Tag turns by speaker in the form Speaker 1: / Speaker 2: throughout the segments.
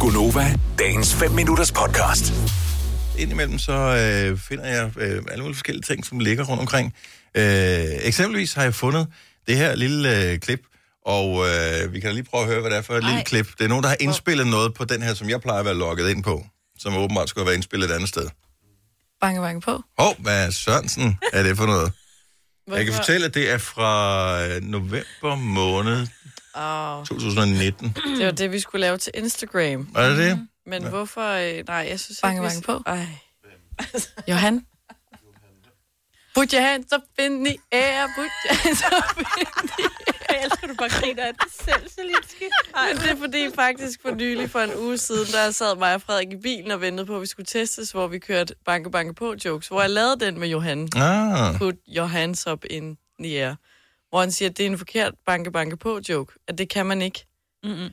Speaker 1: Gunova, dagens 5 minutters podcast.
Speaker 2: indimellem så øh, finder jeg øh, alle mulige forskellige ting, som ligger rundt omkring. Øh, eksempelvis har jeg fundet det her lille øh, klip, og øh, vi kan da lige prøve at høre, hvad det er for et Ej. lille klip. Det er nogen, der har indspillet noget på den her, som jeg plejer at være logget ind på, som åbenbart skulle have været indspillet et andet sted.
Speaker 3: Banke, banke på.
Speaker 2: Hov, hvad Sørensen er det for noget? Jeg kan
Speaker 3: Hvorfor?
Speaker 2: fortælle, at det er fra øh, november måned
Speaker 3: Åh,
Speaker 2: 2019.
Speaker 3: det var det, vi skulle lave til Instagram.
Speaker 2: Er det det?
Speaker 3: Men hvorfor... øh, Nej, jeg synes
Speaker 4: Banke,
Speaker 3: ikke...
Speaker 4: banke på.
Speaker 3: Ej. Johan? Put your hands up in the air, put your hands up in the
Speaker 4: Jeg elsker, du bare griner af det selv, Selinski.
Speaker 3: air. Men det er fordi, faktisk for nylig, for en uge siden, der sad mig og Frederik i bilen og ventede på, at vi skulle testes, hvor vi kørte banke, banke på jokes, hvor jeg lavede den med Johan.
Speaker 2: Ah,
Speaker 3: Put your hands up in the air. Hvor han siger, at det er en forkert banke, banke på joke, at det kan man ikke.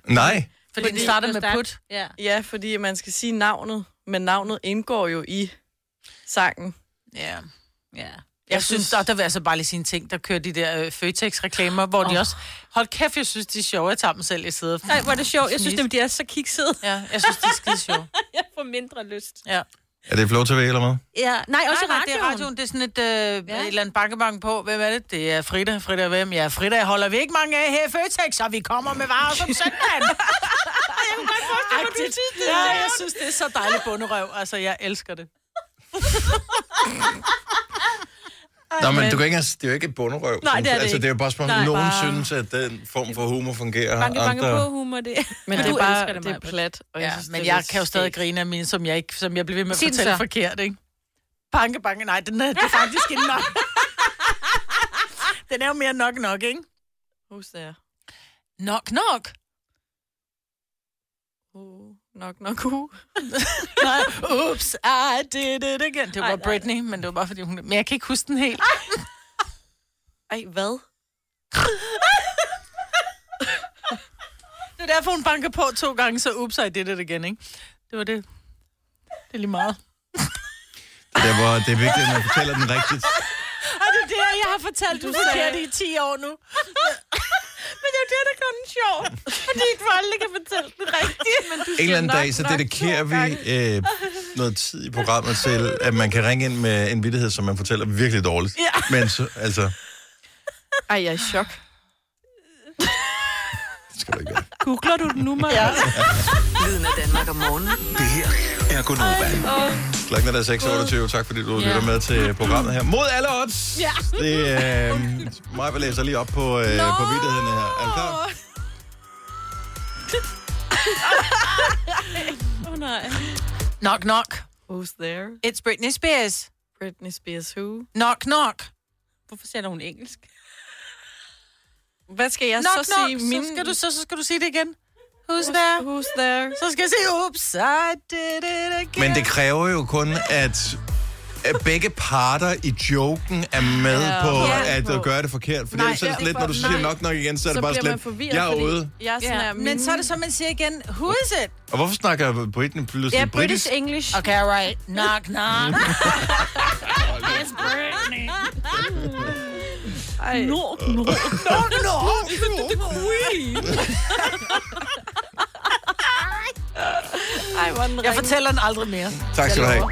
Speaker 2: nej.
Speaker 4: Fordi den starter med put. Ja.
Speaker 3: Ja, fordi man skal sige navnet, men navnet indgår jo i sangen.
Speaker 5: Ja.
Speaker 4: ja.
Speaker 5: Jeg synes, og der vil jeg altså bare lige sige en ting, der kører de der øh, Føtex-reklamer, hvor oh. de også... Hold kæft, jeg synes, de er sjove. Jeg tager dem selv i sædet.
Speaker 4: Ej, hvor er det sjovt. Jeg synes,
Speaker 5: Snis.
Speaker 4: dem, de er så kiksede.
Speaker 5: Ja, jeg synes, de er skide sjove.
Speaker 4: Jeg får mindre lyst.
Speaker 5: Ja.
Speaker 2: Er det Flow TV eller hvad?
Speaker 4: Ja. Nej, også
Speaker 5: Nej, nej, det
Speaker 4: radioen.
Speaker 5: er radioen. Det er sådan et, øh, ja.
Speaker 4: Ja.
Speaker 5: et eller andet bankebank på. Hvem er det? Det er Frida. Frida hvem? Ja, Frida holder vi ikke mange af her i Føtex, og vi kommer med varer som søndagen. Agtigt. Ja, jeg synes, det er så dejligt bunderøv. Altså, jeg elsker det.
Speaker 2: Nå, men du kan ikke, det er jo ikke et bunderøv.
Speaker 4: Nej, det er det
Speaker 2: altså, det er jo bare spørgsmålet,
Speaker 4: Nej,
Speaker 2: nogen
Speaker 4: bare-
Speaker 2: synes, at den form for humor fungerer.
Speaker 4: Banke, banke
Speaker 2: andre...
Speaker 4: på humor, det
Speaker 3: Men
Speaker 4: Du
Speaker 3: det er
Speaker 4: elsker
Speaker 3: bare det,
Speaker 4: Maja.
Speaker 3: det er plat. Og
Speaker 5: Ja,
Speaker 3: synes, det
Speaker 5: men
Speaker 3: er
Speaker 5: jeg
Speaker 3: lidt
Speaker 5: kan jo stadig
Speaker 3: skægt.
Speaker 5: grine af mine, som jeg, ikke, som jeg bliver ved med at
Speaker 4: Sig den
Speaker 5: fortælle
Speaker 4: så.
Speaker 5: forkert, ikke? Banke, banke, nej, den er, det er faktisk ikke nok. den er jo mere nok nok, ikke?
Speaker 3: Husk det her.
Speaker 5: Nok nok.
Speaker 3: Uh, nok, nok, uh.
Speaker 5: Nej, Oops, I did it again. Det var
Speaker 4: Ej,
Speaker 5: bare
Speaker 4: nej.
Speaker 5: Britney, men det var bare fordi hun... Men jeg kan ikke huske den helt.
Speaker 3: Ej, hvad?
Speaker 5: Det er derfor, hun banker på to gange, så oops, I did it again, ikke? Det var det. Det er lige meget.
Speaker 2: Det, var, det er vigtigt, at man fortæller den rigtigt.
Speaker 5: Og det er det, jeg har fortalt, du forkert i 10 år nu.
Speaker 4: Men det er jo det, der gør den sjov. Fordi ikke alle kan fortælle den rigtigt. Men du
Speaker 2: En eller anden dag, så dedikerer vi øh, noget tid i programmet til, at man kan ringe ind med en vittighed, som man fortæller virkelig dårligt. Ja. Men så, altså, det
Speaker 3: Ej, jeg er i chok.
Speaker 2: skal du ikke gøre.
Speaker 4: googler du den nu, Maja? Ja.
Speaker 6: Lyden af Danmark om morgenen.
Speaker 1: Det her er Gunova.
Speaker 2: Klokken er da 6.28. Tak fordi du lytter med til programmet her. Mod alle odds! Ja. Det, øh, mig vil læser lige op på, øh, på vittigheden her. Er du klar?
Speaker 4: Åh, nej.
Speaker 5: Knock, knock.
Speaker 3: Who's there?
Speaker 5: It's Britney Spears.
Speaker 3: Britney Spears who?
Speaker 5: Knock, knock.
Speaker 4: Hvorfor sætter hun engelsk?
Speaker 3: Hvad skal jeg
Speaker 5: Knock,
Speaker 3: så
Speaker 5: knock.
Speaker 3: sige?
Speaker 5: Så skal du, så, så skal du sige det igen. Who's there?
Speaker 3: Who's there?
Speaker 5: Så skal jeg sige, oops, I did it again.
Speaker 2: Men det kræver jo kun, at at begge parter i joken er med ja, på
Speaker 3: Ja.
Speaker 2: at, at gøre det forkert. Fordi
Speaker 5: Nej,
Speaker 2: ellers er det
Speaker 5: ja,
Speaker 2: sådan lidt, når du
Speaker 3: for-
Speaker 2: siger
Speaker 3: nej.
Speaker 2: nok nok igen, så, er
Speaker 3: så
Speaker 2: det bare
Speaker 3: bliver man
Speaker 2: slet,
Speaker 3: forvirret,
Speaker 2: jeg er
Speaker 3: fordi
Speaker 2: ude.
Speaker 3: Jeg er sådan
Speaker 4: Ja,
Speaker 3: her,
Speaker 5: Men så er det så, man siger igen, who is it?
Speaker 2: Og hvorfor snakker Britney pludselig
Speaker 4: Ja,
Speaker 2: britisk?
Speaker 4: British English.
Speaker 5: Okay, right. Knock, knock.
Speaker 3: Ej,
Speaker 4: Nord, nord.
Speaker 5: knock, knock.
Speaker 3: ej, hvor er den
Speaker 5: Jeg
Speaker 3: ringe.
Speaker 5: fortæller den aldrig mere.
Speaker 2: Tak skal du have.